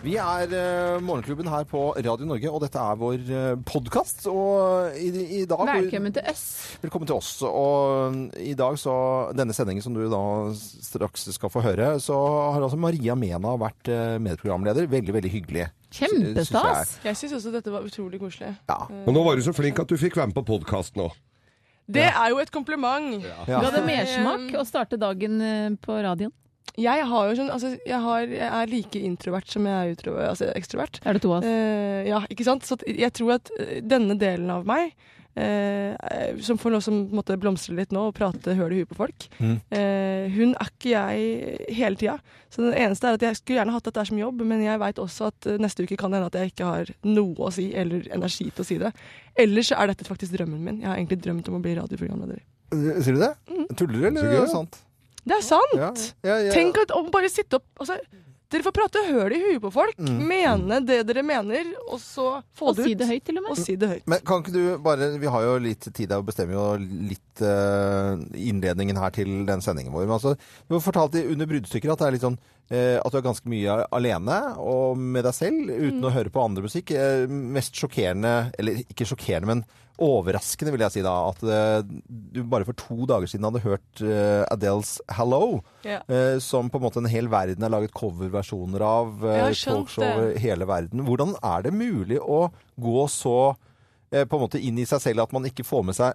Vi er eh, Morgenklubben her på Radio Norge, og dette er vår eh, podkast. Og i, i dag Velkommen til oss. Velkommen til oss. Og mm, i dag, så Denne sendingen som du da straks skal få høre, så har altså Maria Mena vært eh, medprogramleder. Veldig, veldig hyggelig. Synes jeg er. Kjempestas. Jeg syns også dette var utrolig koselig. Ja. Og nå var du så flink at du fikk være med på podkast nå. Det er jo et kompliment. Du hadde mersmak å starte dagen eh, på radioen. Jeg har jo sånn Altså, jeg, har, jeg er like introvert som jeg er utro, altså, ekstrovert. Er det to av oss? Eh, ja, ikke sant? Så at jeg tror at eh, denne delen av meg eh, som får lov som måtte blomstre litt nå og prate høl i huet på folk. eh, hun er ikke jeg hele tida. Så det eneste er at jeg skulle gjerne hatt dette som jobb, men jeg veit også at eh, neste uke kan det hende at jeg ikke har noe å si, eller energi til å si det. Ellers så er dette faktisk drømmen min. Jeg har egentlig drømt om å bli radioprogramleder. Eh, Sier du det? Tuller du, eller Sikkert. er det sant? Det er sant! Ja, ja, ja. Tenk at om bare sitte opp altså, Dere får prate høl i huet på folk, Mm. mene det dere mener, og så få Og det ut. si det høyt, til og Og med. si det høyt. Men kan ikke du bare Vi har jo litt tid der og bestemmer jo litt eh, innledningen her til den sendingen vår. Men altså, du har fortalt i under bruddstykker at det er litt sånn eh, at du er ganske mye alene og med deg selv uten Mm. å høre på andre musikk. Eh, mest sjokkerende, eller ikke sjokkerende, men overraskende vil jeg si da, at eh, du bare for to dager siden hadde hørt eh, Adeles 'Hello'. Ja. eh, som på en måte en hel verden har laget coverversjoner av. Jeg Eh, har skjønt talkshow det. over hele verden. Hvordan er det mulig å gå så eh, på en måte inn i seg selv at man ikke får med seg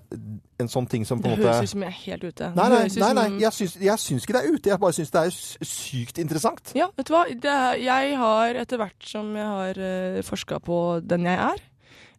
en sånn ting som på Det en måte høres ut som jeg er helt ute. Nei, nei, Det høres ut nei, nei. som- Jeg, syns, jeg syns ikke det er ute. Jeg bare syns det er s- sykt interessant. Ja, vet du hva? Det er, jeg har etter hvert som jeg har uh, forska på den jeg er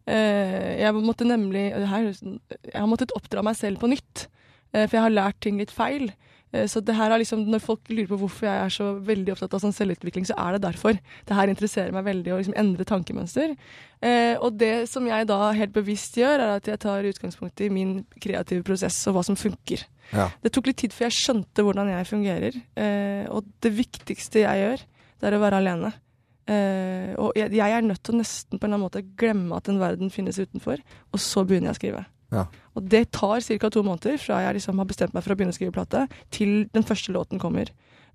eh, Jeg måtte nemlig det her, høres- Jeg har måttet oppdra meg selv på nytt, eh, for jeg har lært ting litt feil. Eh, Så det her er liksom, Når folk lurer på hvorfor jeg er så veldig opptatt av sånn selvutvikling, så er det derfor. Det her interesserer meg veldig å liksom endre tankemønster. Eh, og det som jeg da helt bevisst gjør, er at jeg tar utgangspunkt i min kreative prosess og hva som funker. Ja. Det tok litt tid før jeg skjønte hvordan jeg fungerer. Eh, og det viktigste jeg gjør, det er å være alene. Eh, og jeg, jeg er nødt til å nesten på en eller annen måte glemme at en verden finnes utenfor, og så begynner jeg å skrive. Ja. Og det tar ca. to måneder fra jeg liksom har bestemt meg for å begynne å skrive plate, til den første låten kommer.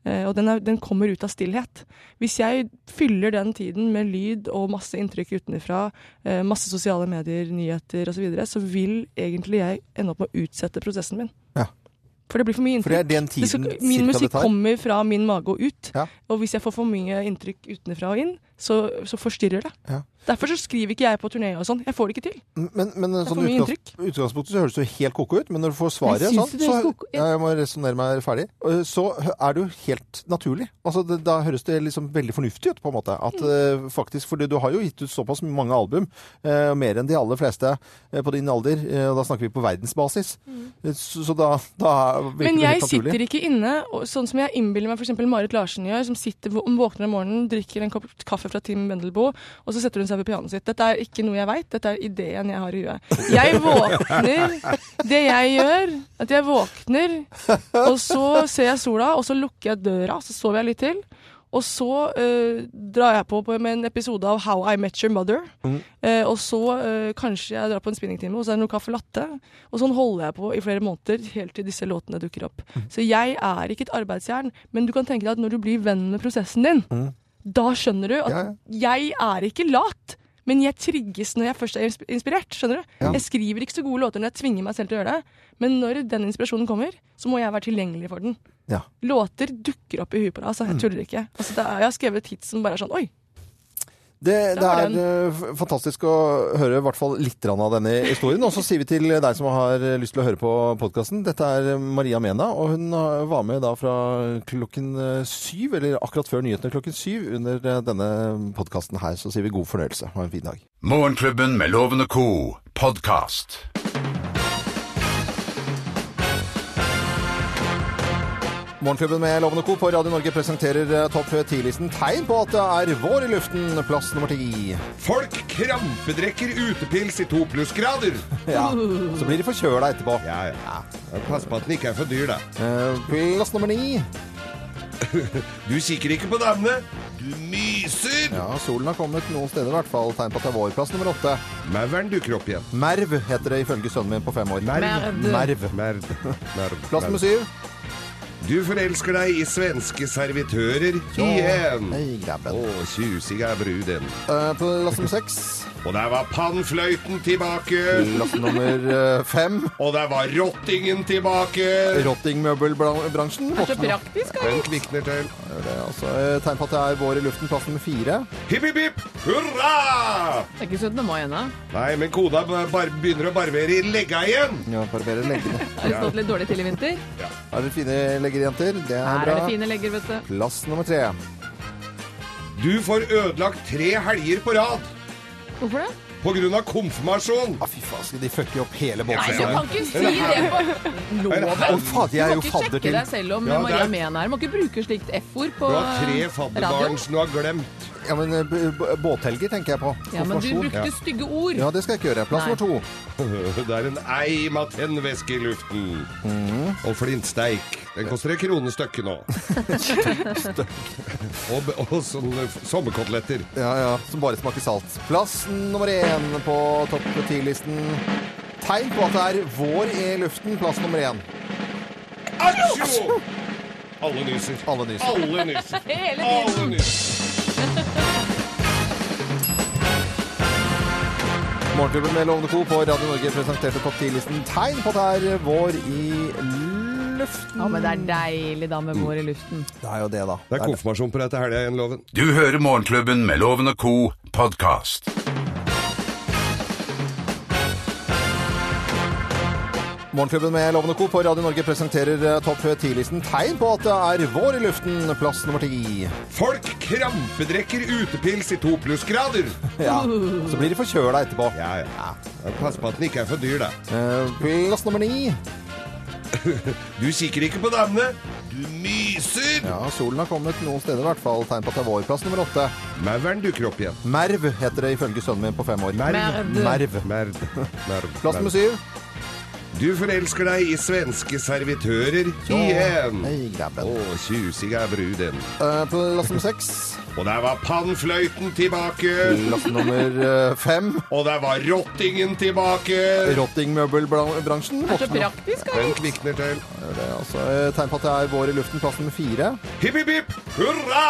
Eh, og den, er, den kommer ut av stillhet. Hvis jeg fyller den tiden med lyd og masse inntrykk utenfra, eh, masse sosiale medier, nyheter osv., så, videre, så vil egentlig jeg ende opp med å utsette prosessen min. Ja. For det blir for mye For det inntrykk. er den Det skal, tiden min cirka det musikk tar. kommer fra min mage og ut. Ja. Og hvis jeg får for mye inntrykk utenfra og inn, så, så forstyrrer det. Ja. Derfor så skriver ikke jeg på turné og sånn. Jeg får det ikke til. Men, men er sånn for mye utgangs, utgangspunktet så høres det jo helt koko ut, men når du får svaret Jeg syns sånn, det høres så koko- ja, Jeg må resonnere meg ferdig. Eh, Så hø- er det jo helt naturlig. Altså, det, da høres det liksom veldig fornuftig ut, på en måte. At Mm. eh, faktisk, For du har jo gitt ut såpass mange album, eh, mer enn de aller fleste eh, på din alder. eh, og da snakker vi på verdensbasis. Eh, Så, så da, da virker Mm. Men det jeg helt naturlig. sitter ikke inne, og, sånn som jeg innbiller meg f.eks. Marit Larsen gjør, som sitter, vå- våkner om morgenen, drikker en kopp kaffe fra Tim Wendelboe, og så setter hun seg ved pianoet sitt. Dette er ikke noe jeg veit, dette er ideen jeg har i huet. Jeg våkner Det jeg gjør, at jeg våkner, og så ser jeg sola, og så lukker jeg døra, så sover jeg litt til. Og så eh, drar jeg på, på med en episode av How I Met Your Mother. Mm. Eh, og så eh, kanskje jeg drar på en spinningtime, og så er det noe kaffe latte. Og sånn holder jeg på i flere måneder, helt til disse låtene dukker opp. Mm. Så jeg er ikke et arbeidsjern, men du kan tenke deg at når du blir venn med prosessen din, da skjønner du at Mm. Ja, jeg er ikke lat. Men jeg trigges når jeg først er insp- inspirert. skjønner du? Jeg skriver ikke så gode låter når jeg tvinger meg selv til å gjøre det, men når den inspirasjonen kommer, så må jeg være tilgjengelig for den. Ja. Låter dukker opp i huet på deg, altså. Mm. Jeg tuller ikke. Altså, det er, jeg har skrevet hits som bare er sånn Oi, Det, det var er eh, f- fantastisk å høre i hvert fall litt grann av denne historien. Og så sier vi til deg som har eh, lyst til å høre på podkasten. Dette er Maria Mena, og hun eh, var med da fra klokken eh, syv, eller akkurat før nyhetene klokken syv, under eh, denne podkasten her. Så sier vi god fornøyelse. Ha en fin dag. Morgenklubben med Loven og Co. podkast. Morgenklubben med Lovende Co. på Radio Norge presenterer eh, topp 10-listen tegn på at det er vår i luften. Plass nummer ti. Folk krampedrekker utepils i to plussgrader. Ja. Så blir de forkjøla etterpå. Ja, ja. Pass på at den ikke er for dyr, da. Eh, Plass nummer ni. Du kikker ikke på damene. Du myser! Ja, solen har kommet noen steder i hvert fall. Tegn på at det er vår plass nummer åtte. Mauren dukker opp igjen. Merv heter det ifølge sønnen min på fem år. Merv. Merv. Merd. Merd. Plass nummer syv. Du forelsker deg i svenske servitører igjen. Hei, grabben. Å, tjusig er bruden. Eh, Plass nummer seks. Og der var pannfløyten tilbake. Plass nummer eh, fem. Og der var rottingen tilbake. Rottingmøbelbransjen. Det er så praktisk. Den kvikner til. Det er altså, eh, Tegn på at det er vår i luften. Plass nummer fire. Hipp, hipp, hipp, hurra! Det er ikke 17. mai ennå. Nei, men kona bar begynner å barbere i legga igjen. Ja, barberer leggene. Har det stått litt dårlig til i vinter? Er dere fine leggerjenter? Det er Her er bra. det fine legger, vet du. Plass nummer tre. Du får ødelagt tre helger på rad Hvorfor det? på grunn av konfirmasjon. Ah, fy faen, skal de fucke opp hele Nei, du båtsesongen? kan ikke si det på Å, loven! fader, Du jeg er må jo ikke fadder sjekke til. deg selv om Ja, det Maria er- Mehn er. Du må ikke bruke slikt F-ord på Du har tre radioen. fadderbarn som du har glemt. Ja, men eh, b- b- båthelger tenker jeg på. Ja, men du Konfirmasjon. brukte stygge ord. Ja, det skal jeg ikke gjøre. Plass Nei. nummer to. Det er en eim av tennvæske i luften. Og flintsteik. Den koster en krone stykket nå. og b- og sånne f- sommerkoteletter. Ja, ja, Som bare smaker salt. Plass nummer én på topp ti-listen. Tegn på at det er vår i luften. Plass nummer én. Atsjo! Alle nyser. Alle nyser. Alle nyser. Hele Alle tiden. nyser. Morgenklubben med Lovende Co. på Radio Norge presenterte topp ti-listen Tegn på at det er vår i luften. Ja, men det er deilig da med vår i luften. Det er jo det, da. Det er konfirmasjon på deg til helga igjen, Loven. Du hører Morgenklubben med Loven og Co. podkast. Morgenklubben med Lovende Co. på Radio Norge presenterer eh, topp ti-listen Tegn på at det er vår i luften. Plass nummer ti. Folk krampedrekker utepils i to plussgrader. Ja. Så blir de forkjøla etterpå. Ja, ja. Pass på at den ikke er for dyr, da. Eh, Plass nummer ni. Du kikker ikke på damene. Du myser! Ja, solen har kommet noen steder i hvert fall. Tegn på at det er vår. Plass nummer åtte. Mauren dukker opp igjen. Merv heter det ifølge sønnen min på fem år. Merv. Merv. Merd. Merd. Plass nummer Merd. syv. Du forelsker deg i svenske servitører igjen. Hei, grabben. Å, tjusig er bruden. Eh, Plass nummer seks. Og der var pannfløyten tilbake. Plass nummer eh, fem. Og der var rottingen tilbake. Rottingmøbelbransjen. Det er så praktisk. Den kvikner til. Det er altså, eh, tegn på at det er vår i luften. Plass nummer fire. Hipp, hipp, hipp, hurra!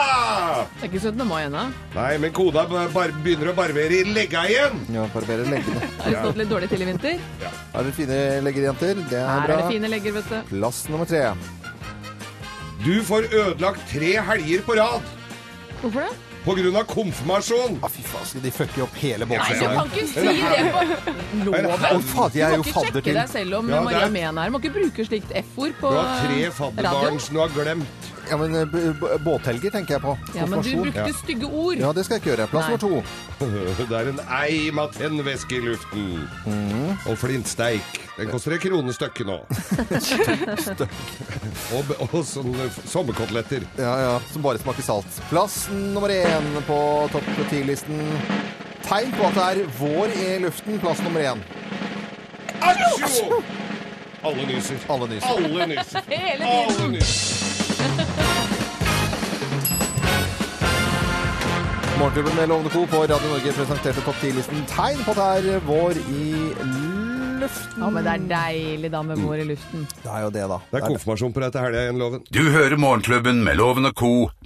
Det er ikke 17. mai ennå. Nei, men kona bar begynner å barbere i legga igjen. Ja, barberer leggene. Har det stått litt dårlig til i vinter? Er dere fine leggerjenter? Det er Her er bra. det fine legger, vet du. Plass nummer tre. Du får ødelagt tre helger på rad Hvorfor det? på grunn av konfirmasjon. Ah, fy faen, skal de fucke opp hele Nei, du båtsesongen? kan ikke si det på loven! Å, fader, jeg er Du jo må ikke fadder sjekke til. deg selv om Ja, det er- Maria Mehn er. Du må ikke bruke slikt F-ord på Du har tre radioen. fadderbarn som du har glemt. Ja, men eh, b- b- båthelger tenker jeg på. Ja, men du Konfirmasjon. brukte stygge ord. Ja, det skal jeg ikke gjøre. Plass Nei. nummer to. Det er en eim av tennvæske i luften. Mhm. Og flintsteik. Den koster en krone stykket nå. og, b- og sånne f- sommerkoteletter. Ja, ja, Som bare smaker salt. Plass nummer én på topp ti-listen. Tegn på at det er vår i luften. Plass nummer én. Atsjo! Alle nyser. Alle nyser. Alle nyser. Hele Alle tiden. nyser. Morgenklubben med Lovende Co. på Radio Norge presenterte topp ti-listen. Tegn på at det er vår i luften. Ja, men det er deilig da med vår i luften. Det er jo det, da. Det er konfirmasjon på deg til helga igjen, Loven. Du hører Morgenklubben med Loven og Co.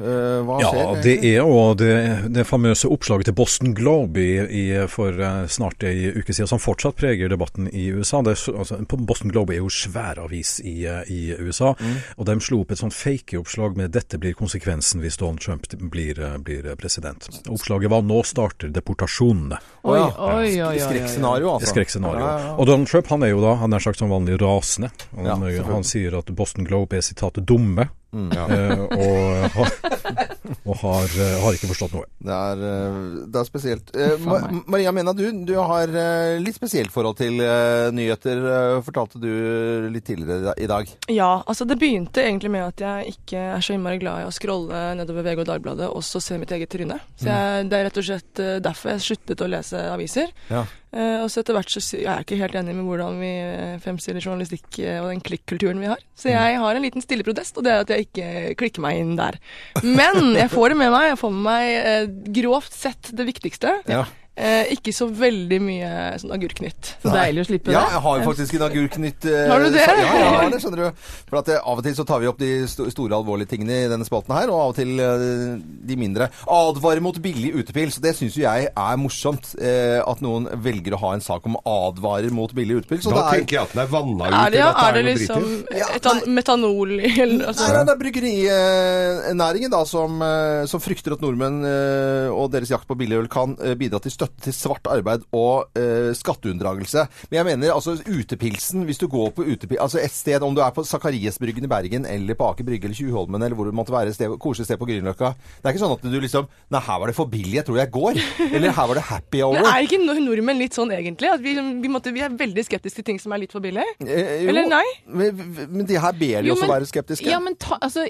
Eh, Hva Ja, skjer? det er jo det, det famøse oppslaget til Boston Globe i, i, for eh, snart ei uke siden, som fortsatt preger debatten i USA. Det, er så- altså, Boston Globe er jo svær avis i, eh, i USA, Mm. og de slo opp et sånt fake-oppslag med 'dette blir konsekvensen hvis Donald Trump blir, eh, blir president'. Oppslaget var 'nå starter deportasjonene'. Oi, ja. oi, oi. oi, oi. Skrekkscenario, altså. Skrekkscenario. Ja, ja, ja. Og Donald Trump han er jo da han er sagt som vanlig rasende. Ja, Mm, Han, selvfølgelig. han sier at Boston Globe er sitat 'dumme'. eh, og, og har, eh, har ikke forstått noe. Det er, eh, det er spesielt. Eh, Ma Faen meg. Maria Mena, du, du har eh, litt spesielt forhold til eh, nyheter, eh, fortalte du litt tidligere i dag. Ja, altså det begynte egentlig med at jeg ikke er så innmari glad i å scrolle nedover VG og Dagbladet og så se mitt eget tryne. Så jeg, det er rett og slett eh, derfor jeg sluttet å lese aviser. Ja. Eh, og så etter hvert så sy- jeg er ikke helt enig med hvordan vi eh, fremstiller journalistikk eh, og den klikkulturen vi har. Så jeg har en liten stille protest, og det er at jeg ikke klikker meg inn der. Men jeg får det med meg. Jeg får med meg eh, grovt sett det viktigste. Ja. Eh, ikke så veldig mye sånn agurknytt. Så deilig å slippe Ja, det. jeg har jo faktisk en agurknytt. eh, Har du det? sa- Ja, jeg har det, skjønner du. For at eh, Av og til så tar vi opp de sto- store, alvorlige tingene i denne spalten her, og av og til eh, de mindre. Advare mot billig utepils. Det syns jo jeg er morsomt. eh, At noen velger å ha en sak om advarer mot billig utepils. og Da det er- tenker jeg at den er vanna ut. Er det, ja? eller at er det noe liksom dritt i. Ja, etan- metanol i eller altså- Nei, nei, det er bryggerinæringen da, som, eh, som frykter at nordmenn eh, og deres jakt på billigøl kan eh, bidra til støtte til svart arbeid og eh, skatteunndragelse. Men jeg mener altså utepilsen, hvis du går på utepil, altså et sted, om du er på Sakariesbryggen i Bergen eller på Aker Brygge eller Tjuvholmen eller hvor det måtte være, et sted, koselig sted på Grünerløkka. Det er ikke sånn at du liksom Nei, her var det for billig, jeg tror jeg går. Eller her var det happy hour. Men er ikke nord- nordmenn litt sånn egentlig? At vi, vi, måtte, vi er veldig skeptiske til ting som er litt for billig? Eh, jo, eller nei? Men, men de her ber de Jo, også men- være skeptiske. Ja, men ta, altså,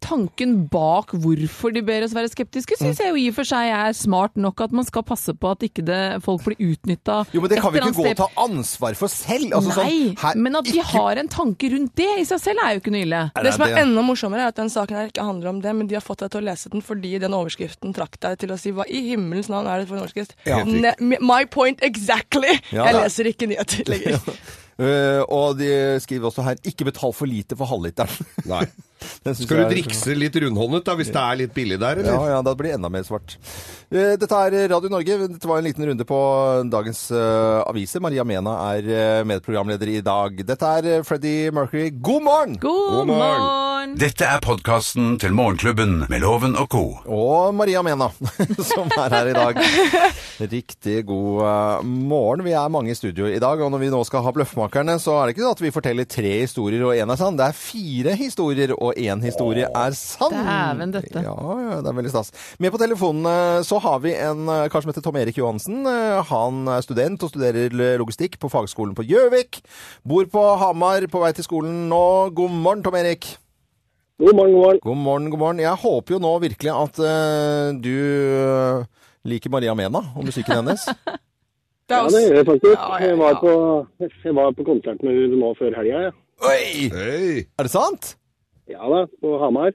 Tanken bak hvorfor de ber oss være skeptiske, Mm. syns jeg jo i og for seg er smart nok. At man skal passe på at ikke det, folk blir utnytta. jo, men det kan vi ikke gå og ta ansvar for selv. Altså, Nei, sånn, her- men at vi ikke- har en tanke rundt det i seg selv er jo ikke noe ille. Nei, Det som er det- enda morsommere, er at den saken her ikke handler om det, men de har fått deg til å lese den fordi den overskriften trakk deg til å si hva i himmelens navn er det for en overskrift? Ja. Ne my point exactly! Ja. Jeg leser ikke nyheter lenger. Eh, og de skriver også her 'ikke betal for lite for halvliteren'. Nei. Den synes Skal jeg du er- drikse litt rundhåndet da, hvis det er litt billig der, Ja, eller? ja, da blir det enda mer svart. Eh, Dette er Radio Norge. Dette var en liten runde på dagens eh, aviser. Maria Mena er eh, medprogramleder i dag. Dette er eh, Freddie Mercury. God morgen! God morgen. morgen! Dette er podkasten til Morgenklubben med Loven og co. Og Maria Mena, som er her i dag. Riktig god eh, morgen. Vi er mange i studio i dag, og når vi nå skal ha Bløffmakerne, så er det ikke sånn at vi forteller tre historier og én er sann. Det er fire historier, og én historie er sann. Dæven døtte. Ja, ja, det er veldig stas. Med på telefonen eh, så har vi en eh, kar som heter Tom Erik Johansen. Eh, Han er student og studerer logistikk på fagskolen på Gjøvik. Bor på Hamar, på vei til skolen nå. God morgen, Tom Erik. God morgen, god morgen. God morgen, god morgen. Jeg håper jo nå virkelig at eh, du eh, liker Maria Mena og musikken hennes. Det Ja, det er oss. gjør jeg faktisk. Ja, ja, Jeg, var på, jeg var på konsert med henne nå før helga. Ja. Oi! Hei. Er det sant? ja da, på Hamar.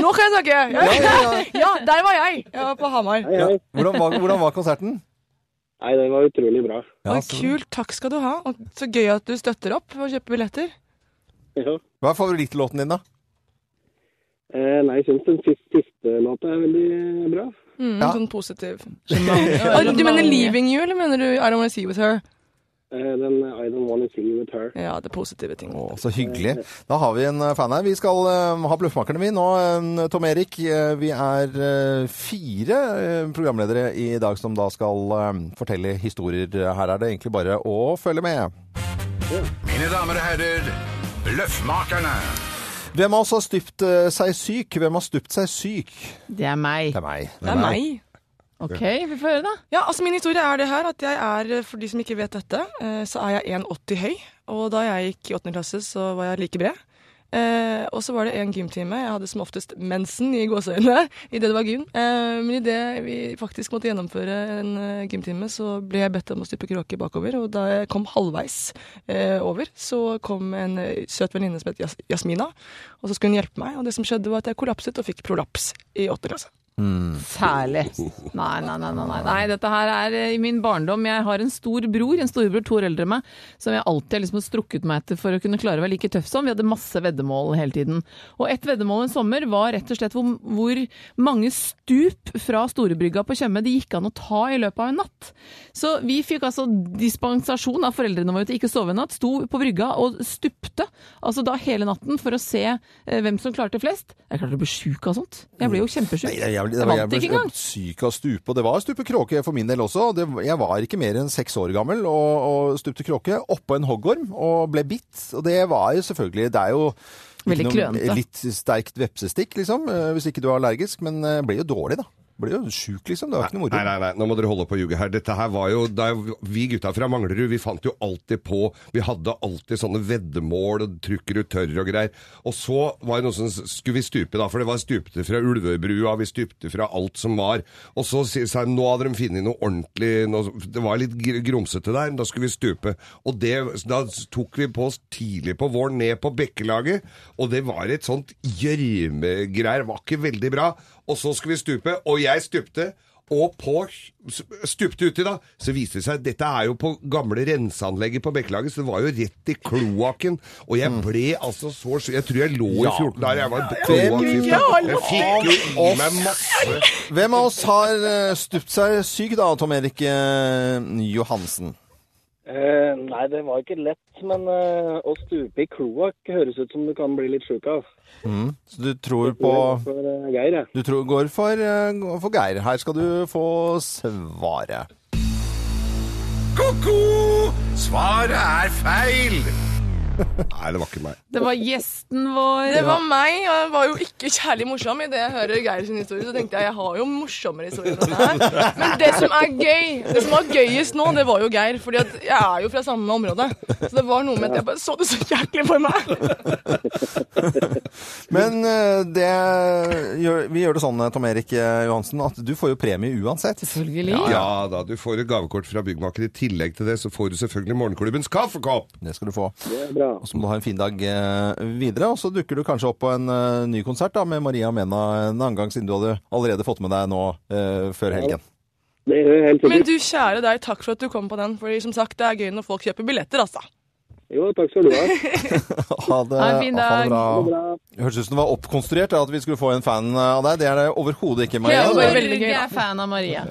Nå kan jeg snakke! Ja, ja, der var jeg! Jeg var på Hamar. Hei, hei. Hvordan var, hvordan var konserten? Nei, den var utrolig bra. Oi, kult, takk skal du ha. Og så gøy at du støtter opp og kjøper billetter. Ja. Hva er favorittlåten din, da? Eh, nei, jeg syns den siste, siste låta er veldig bra. Mm, Ja. Sånn positiv. Og, du mener 'Leaving You', eller mener du 'I Don't Wanna See With Her'? Eh, den I Don't Wanna See You With Her. Ja, det er positive ting. Å, så hyggelig. Da har vi en eh, fan her. Vi skal eh, ha Bløffmakerne, vi nå. eh, Tom Erik, eh, vi er eh, fire eh, programledere i dag som da skal eh, fortelle historier. Her er det egentlig bare å følge med. Mine damer og herrer, Løffmakerne. Hvem av oss har stupt eh, seg syk? Hvem har stupt seg syk? Det er meg. Det er meg. Det er meg. Ok, vi får høre, da. Ja, altså Min historie er det her at jeg er, eh, for de som ikke vet dette, eh, så er jeg 1,80 høy. Og da jeg gikk i 8. klasse, så var jeg like bred. Eh, og så var det en gymtime. Jeg hadde som oftest mensen i gåseøynene idet det var gym. Eh, men idet vi faktisk måtte gjennomføre en eh, gymtime, så ble jeg bedt om å stupe kråke bakover. Og da jeg kom halvveis eh, over, så kom en eh, søt venninne som het Jas Jasmina. Og så skulle hun hjelpe meg, og det som skjedde var at jeg kollapset og fikk prolaps i 8. klasse. Særlig. Nei, nei, nei, nei, nei. nei. Dette her er eh, i min barndom. Jeg har en stor bror, en storebror to år eldre enn meg, som jeg alltid har liksom strukket meg etter for å kunne klare å være like tøff som. Vi hadde masse veddemål hele tiden. Og et veddemål en sommer var rett og slett hvor, hvor mange stup fra Storebrygga på Tjøme det gikk an å ta i løpet av en natt. Så vi fikk altså dispensasjon av foreldrene våre til ikke å sove en natt, sto på brygga og stupte altså da hele natten for å se eh, hvem som klarte flest. Jeg klarte å bli sjuk av sånt. Jeg ble jo kjempesjuk. Nei, jeg, jeg, Jeg vant ble- ikke engang. Syk av stupe, og det var stupe kråke for min del også. Det, jeg var ikke mer enn seks år gammel og, og stupte kråke oppå en hoggorm og ble bitt. Og det var jo selvfølgelig Det er jo Veldig Ikke noe- klønete. Litt sterkt vepsestikk, liksom. eh, Hvis ikke du er allergisk. Men eh, blir jo dårlig, da. Blir jo sjuk, liksom. Det er jo ikke noe Nei, moro. nei, nei, nå må dere holde på å ljuge her. Dette her var jo, da Vi gutta fra Manglerud vi fant jo alltid på Vi hadde alltid sånne veddemål og trykker ut tørr og greier. Og så var det noe som skulle vi stupe, da. For det var stupte fra Ulvebrua, vi stupte fra alt som var. Og så sier seg nå hadde de funnet noe ordentlig nå, Det var litt gr- grumsete der, da skulle vi stupe. Og det, da tok vi på oss tidlig på våren ned på Bekkelaget, og det var et sånt gjørmegreier. Var ikke veldig bra. Og så skulle vi stupe, og jeg stupte. Og på stupte uti, da, så viste det seg Dette er jo på gamle renseanlegget på Bekkelaget, så det var jo rett i kloakken. Og jeg ble altså så sj- Jeg tror jeg lå i 14 dager. Jeg var kloakkgift. Jeg fikk jo i meg masse Hvem av oss har eh, stupt seg syk, da, Tom Erik eh, Johansen? Eh, nei, det var ikke lett, men eh, å stupe i kloakk høres ut som du kan bli litt sjuk av. Så du tror på For eh, Geir, jeg. Du tror, går for, eh, går for Geir. Her skal du få svaret. Ko-ko! Svaret er feil! Nei, det var ikke meg. Det var gjesten vår. Det var meg, og jeg var jo ikke kjærlig morsom. Idet jeg hører Geir sin historie, så tenkte jeg jeg har jo morsommere historier enn det her. Men det som er gøy, det som var gøyest nå, det var jo Geir. Fordi at jeg er jo fra samme område. Så det var noe med at jeg bare så det så jæklig for meg. Men eh, det gjør, vi gjør det sånn, eh, Tom Erik eh, Johansen, at du får jo premie uansett. Selvfølgelig. Ja da, du får et gavekort fra byggmaker. I tillegg til det så får du selvfølgelig morgenklubbens kaffekopp! Det skal du få. Det er bra. Og så må du ha en fin dag eh, videre. Og så dukker du kanskje opp på en eh, ny konsert da, med Maria Mena eh, en annen gang, siden du hadde allerede fått med deg nå eh, før helgen. Det gjør jeg helt Men sikkert. du kjære deg, takk for at du kom på den. Fordi som sagt, det er gøy når folk kjøper billetter, altså. Jo, takk skal du ha. Ha det, Ha en ha det fin dag. Ha det bra. bra. Hørtes ut som det var oppkonstruert ja, at vi skulle få en fan eh, av deg. Det er det overhodet ikke, Ja, Maria. det var Det- veldig gøy, Jeg da. er fan av Maria.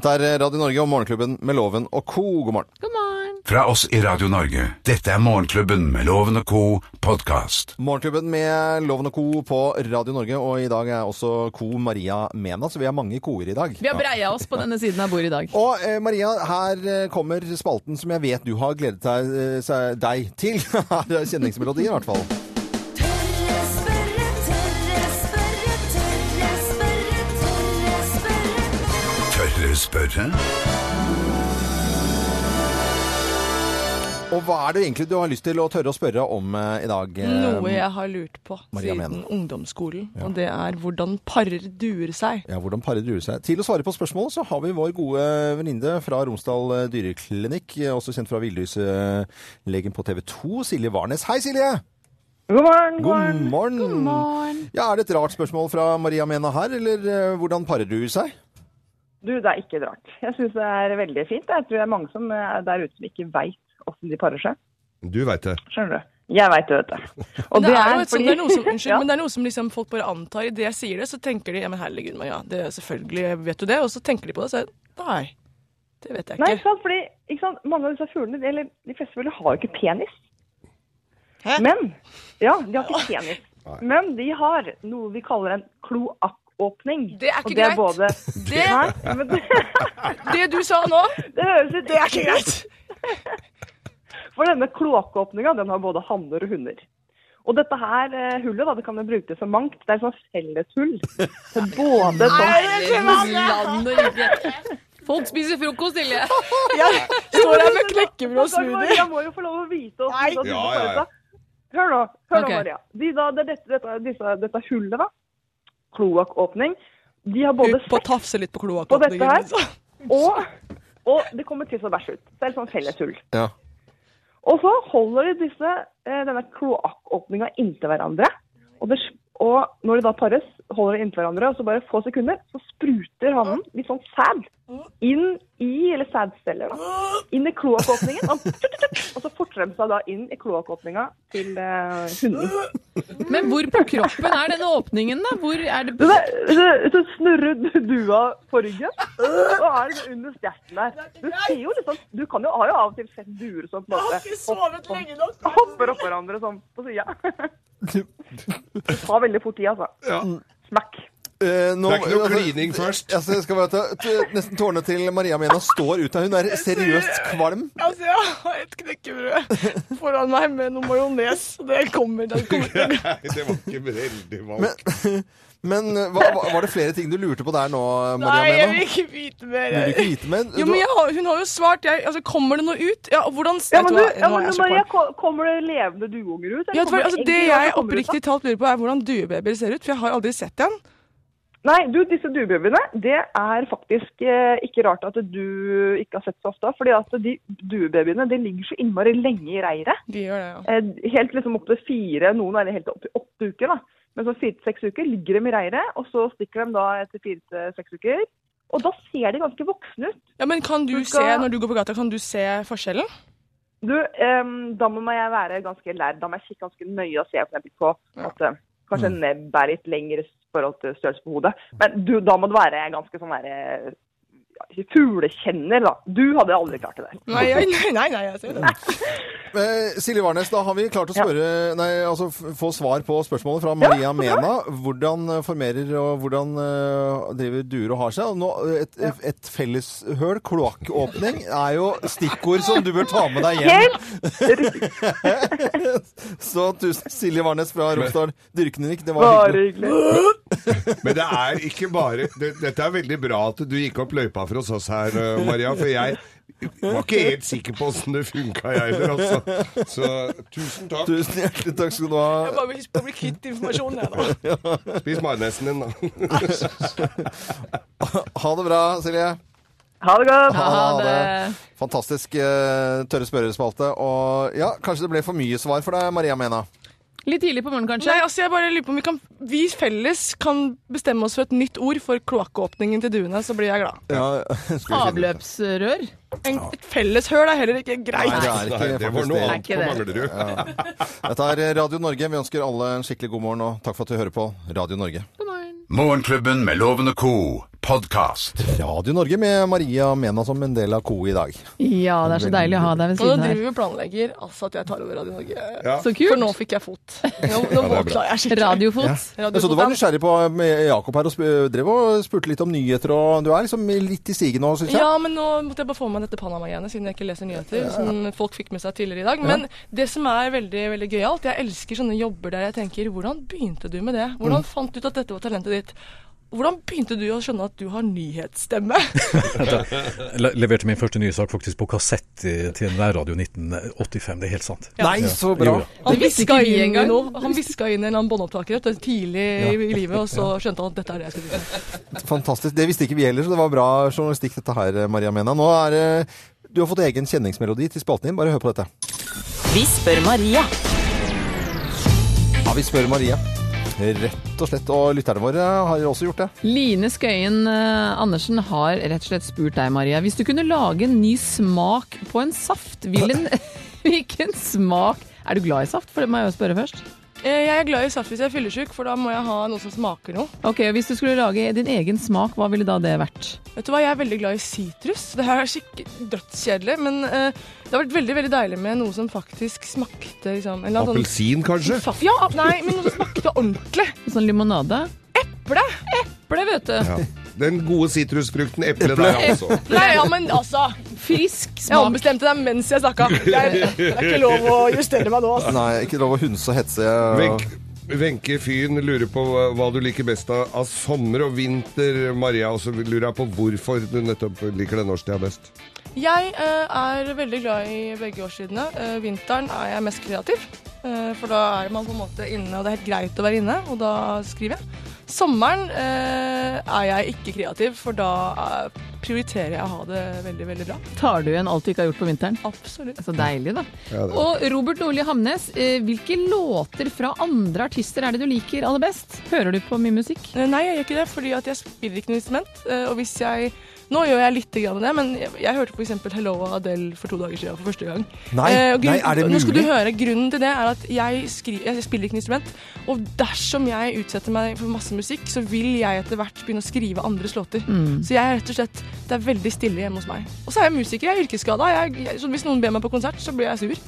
Dette er eh, Radio Norge og Morgenklubben med Loven og co. God morgen. God morgen. Fra oss i Radio Norge. Dette er Morgenklubben med Loven og co. podkast. Morgenklubben med Loven og co. på Radio Norge, og i dag er også co. Maria Mena, så vi har mange koer i dag. Vi har breia oss på denne siden av bordet i dag. Og eh, Maria, her eh, kommer spalten som jeg vet du har gledet deg, eh, seg- deg til. Her er Kjenningsmelodien i hvert fall. Tørre spørre, tørre spørre, tørre spørre, tørre spørre. Tørre spørre? Og hva er det egentlig du har lyst til å tørre å spørre om eh, i dag? eh, Noe jeg har lurt på Maria siden Mena. ungdomsskolen. Og det er hvordan parer duer seg. Ja, hvordan parer druer seg? Til å svare på spørsmålet så har vi vår gode venninne fra Romsdal eh, dyreklinikk, eh, også kjent fra Villdyslegen på TV 2, Silje Warnes. Hei, Silje! God morgen, god God morgen. morgen. Ja, Er det et rart spørsmål fra Maria Mena her, eller eh, hvordan parer du seg? Du, det er ikke et rart. Jeg syns det er veldig fint. Jeg tror det er mange som er der ute som ikke veit åssen de parer seg. Du veit det. Skjønner du? Jeg veit det, vet du. Og Det er jo et sånt, det er noe som, unnskyld, Ja. men det er noe som liksom folk bare antar. Idet jeg sier det, så tenker de ja, men herregud, Maria, det, selvfølgelig vet du det. Og så tenker de på det, så jeg, nei, det vet jeg Nei, ikke. ikke sant? Fordi ikke sant? mange av disse fuglene, eller de fleste fugler, har jo ikke penis. Men Ja, de har ikke penis. Men de har noe vi kaller en kloakkåpning. Det er ikke Og det greit. Er både... Det, Nei, men det, det du sa nå, det høres ut det er ikke greit. For denne kloakkåpninga den har både hanner og hunder. Og dette her eh, hullet da, det kan jo brukes som mangt. Det er et sånt felleshull. til både sånn, Land og rike. Folk spiser frokost, Silje. Jeg står her med knekkebrød og Stakkars smoothie. Maria må jo få lov å vite oss. Nei. vite oss Ja, hvordan ja, det ja. er. Hør nå, hør Ok. nå Maria. De da, det, er dette, dette, disse, dette hullet, da, kloakkåpning, de har både Ut på å sekk tafse litt på På dette her? kloakkåpningen. og, og det kommer tiss og bæsj ut. Så det er et sånt felleshull. Ja. Og så holder de disse, eh, denne kloakkåpninga inntil hverandre. Og, det, og når de da pares, holder de inntil hverandre, og så bare få sekunder, så spruter hannen litt sånn sæd inn i eller sædceller, da. Inn i kloakkåpningen. Og, tut, tut, tut, og så forter de seg da inn i kloakkåpninga til eh, hunden. Men hvor på kroppen er denne åpningen, da? Hvor er det Så, det- så- så snurrer du- dua på ryggen, og er liksom under stjerten der. Du ser jo liksom Du kan jo, har jo av og til sett duer som på en måte hopp- hopper oppå hverandre sånn på sida. Det tar veldig fort tid, altså. Smack. Eh, nå- Det er ikke noe altså, klining først. Altså, jeg skal bare ta, t- nesten tårene til Maria Mena står ut av Hun er seriøst kvalm. Altså, jeg har et knekkebrød foran meg med noe majones. og Det kommer. Det kommer. Nei, det var ikke veldig valgt. Men eh, hva, hva- var det flere ting du lurte på der nå, Nei, Maria jeg vil Mena? ikke vite Du vil mer. ikke vite, men, Jo, men jeg har, hun har jo svart. Jeg, altså, kommer det noe ut? Ja, og hvordan Ja, vet men du du, hva? ja, Nå er men jeg så Maria, kvalm. ko- kommer det levende duunger ut? Ja, vet du eller hva, kommer altså, egg det ut, jeg eller kommer det ut av- oppriktig talt lurer på, er hvordan duebabyer ser ut. For jeg har aldri sett en. Nei, du, disse duebabyene, det er faktisk eh, ikke rart at du ikke har sett så ofte. fordi at de duebabyene de ligger så innmari lenge i reiret. De gjør det, ja. Eh, helt liksom opp til fire, noen er helt opp til åtte uker. da. Men så fire-seks uker ligger de i reiret, og så stikker de da etter fire-seks uker. Og da ser de ganske voksne ut. Ja, men kan du Du se, skal- når du går på gata, kan du se forskjellen? Du, ehm, da må jeg være ganske lærd. Da må jeg kikke ganske nøye og se for eksempel på at eh, kanskje Mm. nebb er litt lengre i forhold til størrelse på hodet. Men du, da må du være ganske sånn derre ja, fuglekjenner, da. Du hadde aldri klart det der. Nei, jeg- nei, nei, nei, jeg ser det. eh, Silje Warnes, da har vi klart å spørre, nei, altså, f- få svar på spørsmålet fra Maria Mena. Hvordan eh, formerer og hvordan eh, driver duer og har seg? Og nå, eh, et, et felleshøl, kloakkåpning, er jo stikkord som du bør ta med deg hjem. Helt riktig. Så tusen Silje Warnes fra Romsdal Dyrkenik, det var Bare hyggelig. hyggelig. Men det er ikke bare det, Dette er veldig bra at du gikk opp løypa for oss her, eh, Maria. For jeg var ikke helt sikker på åssen det funka, jeg heller. Altså. Så tusen takk. Tusen hjertelig takk skal du Jeg ha. bare vil huske på å bli kvitt informasjonen, jeg, da. Spis majonesen din, da. Ha det bra, Silje. Ha det godt. Ha det. Fantastisk eh, tørre spørrespalte. Og ja, kanskje det ble for mye svar for deg, Maria Mena. Litt tidlig på morgenen, kanskje? Nei, altså, jeg bare lurer på om vi, kan, vi felles kan bestemme oss for et nytt ord for kloakkåpningen til duene, så blir jeg glad. Ja, Avløpsrør? En, et felleshøl er heller ikke greit. Nei, det er Nei, ikke det var faktisk noe det. annet Det på er ikke Manglerud. Dette er Radio Norge. Vi ønsker alle en skikkelig god morgen, og takk for at du hører på Radio Norge. God morgen. Morgenklubben med Lovende Co. Podcast. Radio Norge med Maria Mena som en del av Co i dag. Ja, det er så deilig å ha deg ved Og nå siden her. driver vi og planlegger altså, at jeg tar over Radio Norge. Så For nå kult. fikk jeg fot. Nå, nå våkna jeg skikkelig. Radiofot. Jeg så du var nysgjerrig på med Jakob her og sp- drev og spurte litt om nyheter, og du er liksom litt i siget nå, syns jeg. Ja, men nå måtte jeg bare få med meg dette Panama-greiene, siden jeg ikke leser nyheter. Som folk fikk med seg tidligere i dag. Men det som er veldig veldig gøyalt, jeg elsker sånne jobber der jeg tenker Hvordan begynte du med det? Mm. Hvordan fant du ut at dette var talentet ditt? Hvordan begynte du å skjønne at du har nyhetsstemme? Le leverte min første nyhetssak faktisk på kassett i- til nærradio 1985, det er helt sant. Nei, så bra! Jo, ja. Han Det visste viska ikke vi inn, i engang. noe- han viska inn i en eller annen båndopptaker vet du, tidlig i livet, og så skjønte han at dette er det jeg skal drive med. Fantastisk. Det visste ikke vi heller, så det var bra journalistikk dette her, Maria Mena. Nå er det Du har fått egen kjenningsmelodi til spalten din. Bare hør på dette. Vi spør Maria. Ja, vi spør Maria. Rett og slett. Og lytterne våre har også gjort det. Line Skøyen eh, Andersen har rett og slett spurt deg, Maria. Hvis du kunne lage en ny smak på en saft, vil en, hvilken smak Er du glad i saft? For det må jeg jo spørre først. Eh, Jeg er glad i saft hvis jeg er fyllesyk, for da må jeg ha noe som smaker noe. Ok, og Hvis du skulle lage din egen smak, hva ville da det vært? Vet du hva, Jeg er veldig glad i sitrus. Det her er skikkelig dødskjedelig, men eh, det har vært veldig veldig deilig med noe som faktisk smakte liksom, en eller annen sånn- Appelsin, kanskje? Fa- Ja, ap- nei, men noe som smakte ordentlig. Sånn limonade? Eple! Eple, vet du. Den gode sitrusfrukten eple der, altså. Nei, ja, men altså Frisk Jeg smak. ombestemte deg mens jeg snakka. Det er det er ikke lov å justere meg nå. altså. Nei, ikke lov å hunse og hetse. Venk, Wenche Fyn lurer på hva- hva du liker best av, av sommer og vinter, Maria. Og så lurer jeg på hvorfor du nettopp liker den årstida best. Jeg eh, er veldig glad i begge årstidene. Eh, vinteren er jeg mest kreativ, eh, for da er man på en måte inne, og det er helt greit å være inne, og da skriver jeg. Sommeren eh, er jeg ikke kreativ, for da eh, prioriterer jeg å ha det veldig, veldig bra. Tar du igjen alt du ikke har gjort på vinteren? Absolutt. Så deilig, da. Ja, det er- Og Robert Nordli Hamnes, eh, hvilke låter fra andre artister er det du liker aller best? Hører du på mye musikk? Eh, Nei, jeg gjør ikke det, fordi at jeg spiller ikke noe instrument. eh, Og hvis jeg Nå gjør jeg litt grann det, men jeg, jeg hørte f.eks. 'Hello' av Adele for to dager siden for første gang. Nei, Eh, og nei, er det Nå skal mulig? du høre, Grunnen til det er at jeg, skri, jeg spiller ikke noe instrument. Og dersom jeg utsetter meg for masse musikk, så vil jeg etter hvert begynne å skrive andres låter. Mm. Så jeg er rett og slett Det er veldig stille hjemme hos meg. Og så er jeg musiker. Jeg er yrkesskada. Jeg, jeg, så hvis noen ber meg på konsert, så blir jeg sur.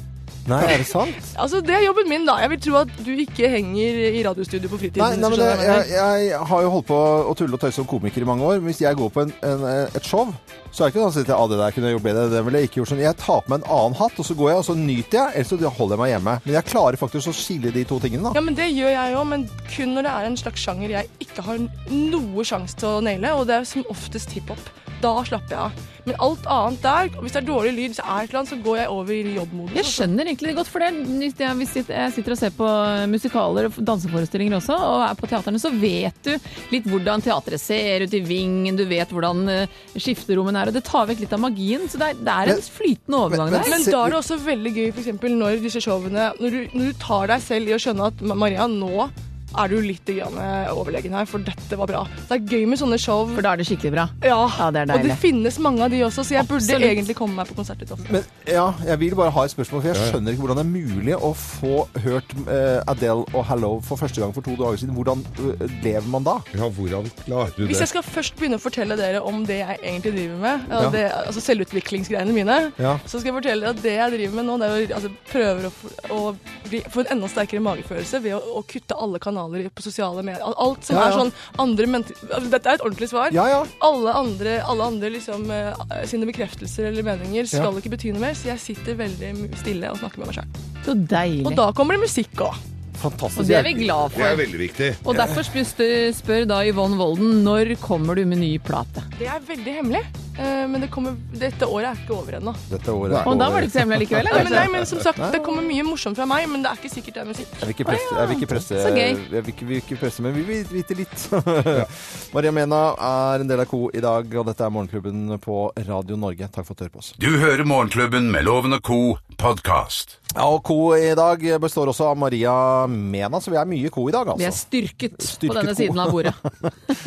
Nei, er det sant? Altså, Det er jobben min, da. Jeg vil tro at du ikke henger i radiostudio på fritiden. Nei, nei men det, skjønner du hva jeg jeg, mener? jeg har jo holdt på å tulle og tøyse som komiker i mange år. men Hvis jeg går på en, en, eh, et show, så er det ikke sånn at jeg, ah, det der kunne jeg gjort bedre, det ville jeg ikke gjort sånn. Jeg tar på meg en annen hatt, og så går jeg, og så nyter jeg, ellers så holder jeg meg hjemme. Men jeg klarer faktisk å skille de to tingene, da. Ja, men Det gjør jeg òg, men kun når det er en slags sjanger jeg ikke har noe sjanse til å naile, og det er som oftest hiphop. Da slapper jeg av. Men alt annet der, og hvis det er dårlig lyd, så er det et eller annet, så går jeg over i jobbmodus. Jeg skjønner egentlig godt, for det Hvis jeg- hvis jeg jeg sitter og ser på musikaler og danseforestillinger også, og er på teaterne, så vet du litt hvordan teatret ser ut i vingen, du vet hvordan eh, skifterommene er, og det tar vekk litt av magien. Så det er, det er en flytende overgang men- der. Men Se- da er det også veldig gøy for eksempel, når disse showene når du, når du tar deg selv i å skjønne at "Ma- Maria, nå er du litt grann eh, overlegen her, for dette var bra. Det er gøy med sånne show. For da er det skikkelig bra. Ja, Ja, det er Og det deilig. finnes mange av de også, så jeg Absolutt. burde egentlig komme meg på konsert litt oftere. Men ja, jeg vil bare ha et spørsmål, for jeg skjønner ikke hvordan det er mulig å få hørt eh, Adele og Hello for første gang for to dager siden. Hvordan eh, lever man da? Ja, hvordan klarer du Hvis det? jeg skal først begynne å fortelle dere om det jeg egentlig driver med, ja. Ja. det, altså selvutviklingsgreiene mine, Ja. så skal jeg fortelle dere at det jeg driver med nå, det er å altså, prøver å, f- å bli, få en enda sterkere magefølelse ved å, å kutte alle kanaler i- på sosiale medier. Al- Alt som Ja, er ja. sånn andre mennesker... Altså, dette er et ordentlig svar. Ja, ja. Alle andre, alle andre liksom, eh, sine bekreftelser eller meninger skal Ja. ikke bety noe mer, så jeg sitter veldig mu- stille og snakker med meg selv. Så deilig. Mm. Og da kommer det musikk også. Fantastisk. Og det er vi glad Det er for. veldig viktig. Og derfor spør, spør- spør da Yvonne Volden når kommer du med ny plate. Det er veldig hemmelig, eh, men det kommer, dette året er ikke over ennå. Dette året er Og da var det ikke så hemmelig likevel. Nei, men, kanskje? nei, men som sagt, det kommer mye morsomt fra meg, men det er ikke sikkert det er musikk. Jeg vil ikke presse, jeg vil ikke presse, Så gøy. jeg vil ikke, vil ikke presse men vi vil vite litt. Maria Mena er en del av Co i dag, og dette er Morgenklubben på Radio Norge. Takk for at du hører på oss. Du hører Morgenklubben med Loven og Co. podkast. Ja, og Co i dag består også av Maria Mena, så vi er mye Co i dag, Vi er altså. styrket, Styrket på denne god. siden av bordet.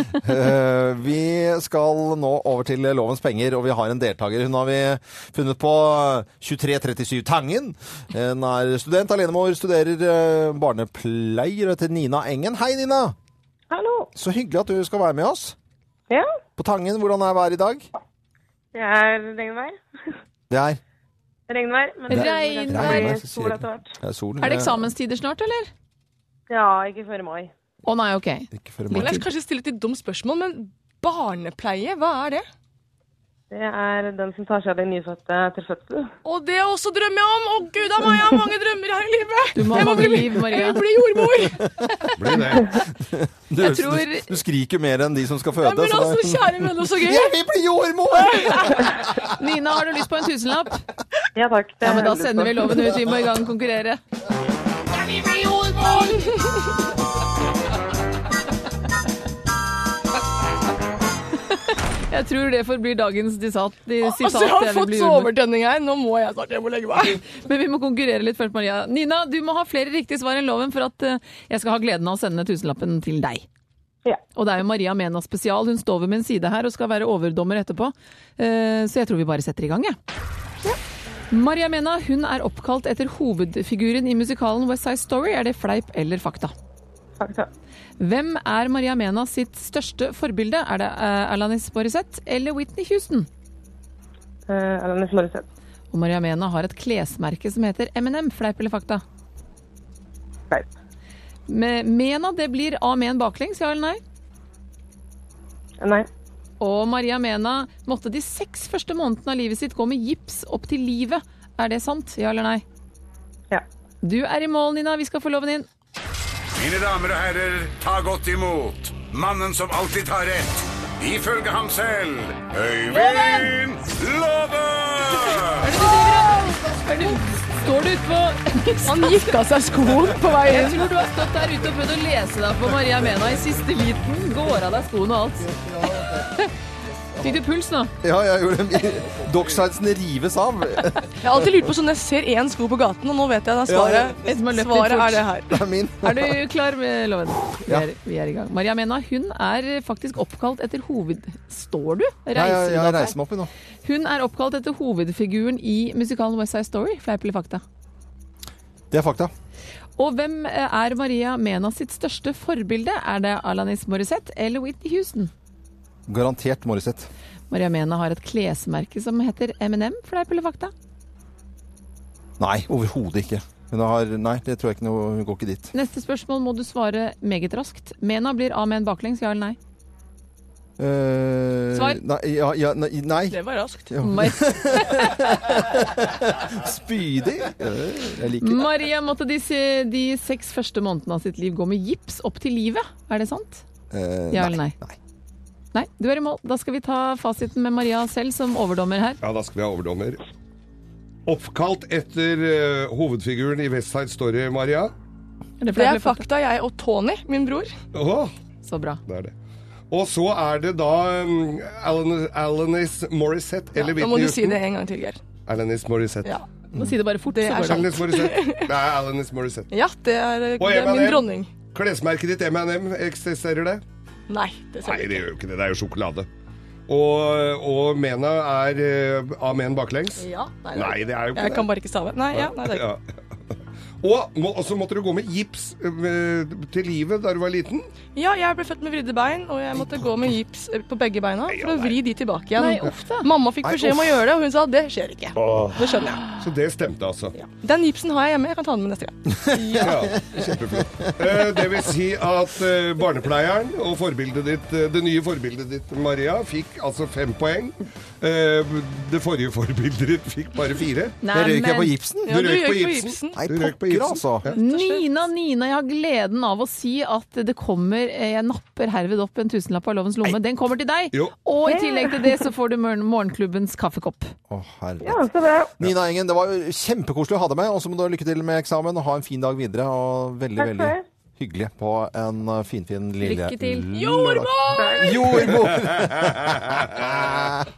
Eh, vi skal nå over til Lovens penger, og vi har en deltaker. Hun har vi funnet på 2337 Tangen. Hun er student, alenemor, studerer eh, barnepleier og heter Nina Engen. Hei, Nina! Hallo. Så hyggelig at du skal være med oss. Ja, På Tangen, hvordan er været i dag? det er regnvær. Det er, Regnvær, men det er Regnvær. kanskje sol etter hvert. det er solen. Er det eksamenstider snart, eller? Ja, ikke før mai. Å nei, ok. Eh, Ikke før i Men morgen. jeg skal kanskje stille et litt dumt spørsmål, men barnepleie, hva er det? Det er den som tar seg av de nyfødte etter fødsel. Og det er også drømmer jeg om! Å gud a meg, jeg har mange drømmer her i livet! Du må jeg ha må det bli, liv, Maria. jeg vil bli jordmor! Blir det. Du, Jeg du- tror- du skriker mer enn de som skal føde. Ja, så men det- altså, kjære venner, så gøy! Jeg vil bli jordmor! Nina, har du lyst på en tusenlapp? Ja takk. det Ja, men har da jeg lyst sender vi på. loven ut. Vi må i gang konkurrere. Jeg tror det forblir dagens disat, de sitat. Altså, jeg har jeg vil fått bli så jordmor. overtenning her. Nå må jeg snart hjem og legge meg. Men vi må konkurrere litt først, Maria. Nina, du må ha flere riktige svar enn loven for at eh, jeg skal ha gleden av å sende tusenlappen til deg. Ja. Og det er jo Maria Mena spesial. Hun står ved min side her og skal være overdommer etterpå. Eh, Så jeg tror vi bare setter i gang, jeg. Maria Mena hun er oppkalt etter hovedfiguren i musikalen West Side Story. Er det fleip eller fakta? Eh, Takk, takk. Hvem er Maria Mena sitt største forbilde? Er det eh, Alanis Morissette eller Whitney Houston? Eh, Alanis Morissette. Og Maria Mena har et klesmerke som heter M&M. Fleip eller fakta? Fleip. Med Mena, det blir Amen baklengs, ja eller nei? Nei. Og Maria Mena måtte de seks første månedene av livet sitt gå med gips opp til livet. Er det sant, ja eller nei? Ja. Du er i mål, Nina. Vi skal få loven inn. Mine damer og herrer, ta godt imot mannen som alltid tar rett. Ifølge ham selv Øyvind Låve! Står du utpå Han gikk av seg skoen på vei Jeg inn. tror du har stått der ute og prøvd å lese deg på Maria Mena i siste liten. Går av deg skoene og alt. Fikk du puls nå? Ja, jeg gjorde det. Docksidesene rives av. Det Jeg har alltid lurt på sånn, jeg ser én sko på gaten, og nå vet jeg det er svaret. Ja, ja. Som har løpt litt Svaret fort. er det her. er min. Er du klar med loven? Vi er, vi er i gang. Maria Mena hun er faktisk oppkalt etter hoved... Står du? Reiser Ja, jeg, du jeg deg opp? reiser meg opp i nå. Hun er oppkalt etter hovedfiguren i musikalen West Side Story. Fleip eller fakta? Det er fakta. Og hvem eh, er Maria Mena sitt største forbilde? Er det Alanis Morissette eller Whitney Houston? Garantert Morissette. Maria Mena har et klesmerke som heter M&M. Fleip eller fakta? Nei, overhodet ikke. Hun har Nei, det tror jeg ikke noe Hun går ikke dit. Neste spørsmål må du svare meget raskt. Mena blir av med en baklengs, ja eller nei? Eh, Svar. Nei, ja, ja, nei, nei. Det var raskt. Mar spydig. Eh, Jeg liker det. Maria måtte de, se- de seks første månedene av sitt liv gå med gips opp til livet. Er det sant? Eh, Ja eller nei? nei. Nei, du er i mål. Da skal vi ta fasiten med Maria selv som overdommer her. Ja, da skal vi ha overdommer. Oppkalt etter eh, hovedfiguren i West Side Story, Maria. Det er fakta, jeg og Tony, min bror. Åh, Så bra. det er det. Og så er det da um, Alan, Alanis Morissette, eller Nå må du si det en gang til, Geir. Alanis Morissette. Ja. Nå si det bare fort, Det så går er det. Alanis Morissette. Nei, Alanis Morissette. Ja, det er, Og det er M&M. min dronning. Klesmerket ditt M&M, eksisterer det? Nei, det ser Nei, jeg ikke. det gjør jo ikke det. Det er jo sjokolade. Og, og Mena er eh, av med en baklengs? Ja, nei, Nei, det er jo ikke Jeg kan bare ikke stave. Nei, ja, nei, det er ikke. Ja. Og må, så måtte du gå med gips eh, til livet da du var liten. Ja, jeg ble født med vridde bein, og jeg måtte gå med gips eh, på begge beina for å vri de tilbake Nei, igjen. uff da. Mamma fikk beskjed om å gjøre det, og hun sa det skjer ikke. Det skjønner jeg. Så det stemte, altså. Ja. Den gipsen har jeg hjemme, jeg kan ta den med neste gang. kjempeflott. Eh, det vil si at eh, barnepleieren og forbildet ditt, eh, det nye forbildet ditt, Maria, fikk altså fem poeng. Eh, det forrige forbildet ditt fikk bare fire. Nei, Jeg røyker jeg på men- gipsen? Ja, Du røyk på på gipsen. gipsen. Nei, Du røyk på pokker, gipsen. altså. Nina, Nina, jeg har gleden av å si at det kommer eh, Jeg napper herved opp en tusenlapp av lovens lomme. Den kommer til deg! Jo. Og i tillegg til det så får du morgen- morgenklubbens kaffekopp. Å, herregud. Ja, så bra. Nina Engen, det var jo kjempekoselig å ha deg med. Og så må du ha lykke til med eksamen, og ha en fin dag videre. Og veldig, Takk for veldig det. hyggelig på en uh, finfin lille Lykke til. Jordmor! Jordmor!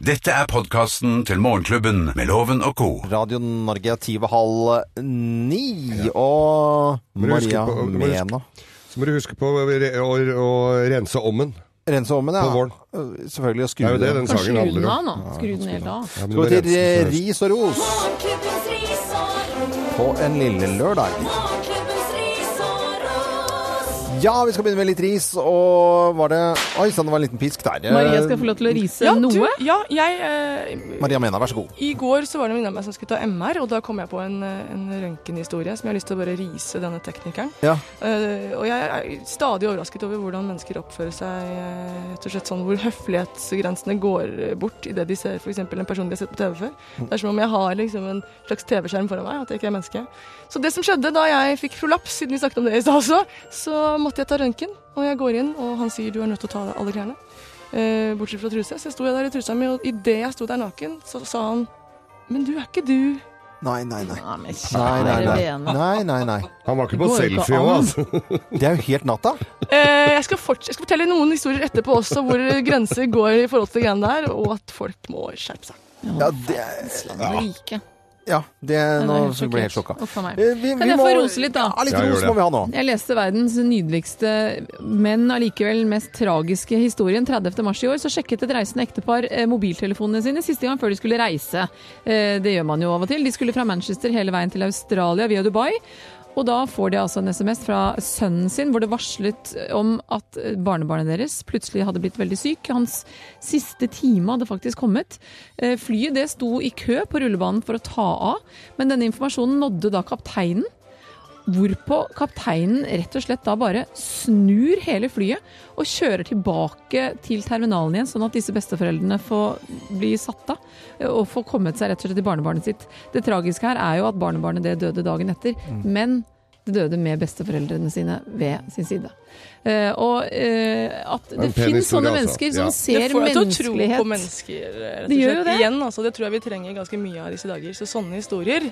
Dette er podkasten til Morgenklubben med Loven og co. Radio Norge ti ved halv uh, ni. Og du huske Maria på- må du huske- Mena. Så må du huske på å, re- å, å rense ommen. Rense ommen, ja. Uh, På våren. Selvfølgelig. Og skru Det er jo det den. den Kan sangen Skru den handler av om. nå. Skru den helt av. Ja, men du må Skal vi til rense den eh, først. ris og ros Morgenklubbens ris og ros. på en lille lørdag? Morgenklubbens ris og ros. Ja, vi skal begynne med litt ris, og var det Oi sann, det var en liten pisk der. Maria skal få lov til å rise Ja, du, noe. ja, jeg eh, Maria Mena, vær så god. I går så var det en venninne av meg som skulle ta MR, og da kom jeg på en, eh, en røntgenhistorie som jeg har lyst til å bare rise denne teknikeren. Ja. Eh, og jeg er stadig overrasket over hvordan mennesker oppfører seg, eh, rett og slett sånn hvor høflighetsgrensene går eh, bort idet de ser f.eks. en person de har sett på TV før. Det er som om jeg har liksom en slags TV-skjerm foran meg, at jeg ikke er menneske. Så det som skjedde da jeg fikk prolaps, siden vi snakket om det i stad også, så måtte jeg ta røntgen, og jeg går inn, og han sier du er nødt til å ta av deg alle klærne. Eh, bortsett fra truse. Så jeg sto der i trusa mi, og idet jeg sto der naken, så sa han Men du er ikke du. Nei, nei, nei. Ja, men Nei, nei, kjære nei. vene. nei, nei, nei. Han var ikke Det på går jo ikke selfie òg, an. altså. Det er jo helt natta. Eh, jeg, skal forts- jeg skal fortelle noen historier etterpå også hvor grenser går i forhold til greiene der, og at folk må skjerpe seg. Ja, det, Rike. ja, det nå Nei, det er helt ble jeg helt sjokka. sjokkert. Uff a meg. Eh, vi- Kan vi jeg må- få rose litt, da? Ja, litt Ja, gjør ros må det. vi ha nå. Jeg leste verdens nydeligste, men allikevel mest tragiske historien. 30. mars i år så sjekket et reisende ektepar eh, mobiltelefonene sine siste gang før de skulle reise. Eh, Det gjør man jo av og til. De skulle fra Manchester hele veien til Australia via Dubai. Og da får de altså en SMS fra sønnen sin hvor det varslet om at barnebarnet deres plutselig hadde blitt veldig syk. Hans siste time hadde faktisk kommet. Eh, Flyet det sto i kø på rullebanen for å ta av, men denne informasjonen nådde da kapteinen. Hvorpå kapteinen rett og slett da bare snur hele flyet og kjører tilbake til terminalen igjen, sånn at disse besteforeldrene får bli satt av eh, og får kommet seg rett og slett til barnebarnet sitt. Det tragiske her er jo at barnebarnet det døde dagen etter, Mm. men det døde med besteforeldrene sine ved sin side. Eh, og eh, at det, en pen finnes historie, sånne altså. mennesker Ja. som Det ser får deg til å tro på menneskelighet. mennesker. eh, Rett og Det gjør jo slett. det. Igjen, altså, det tror jeg vi trenger ganske mye av disse dager. Så sånne historier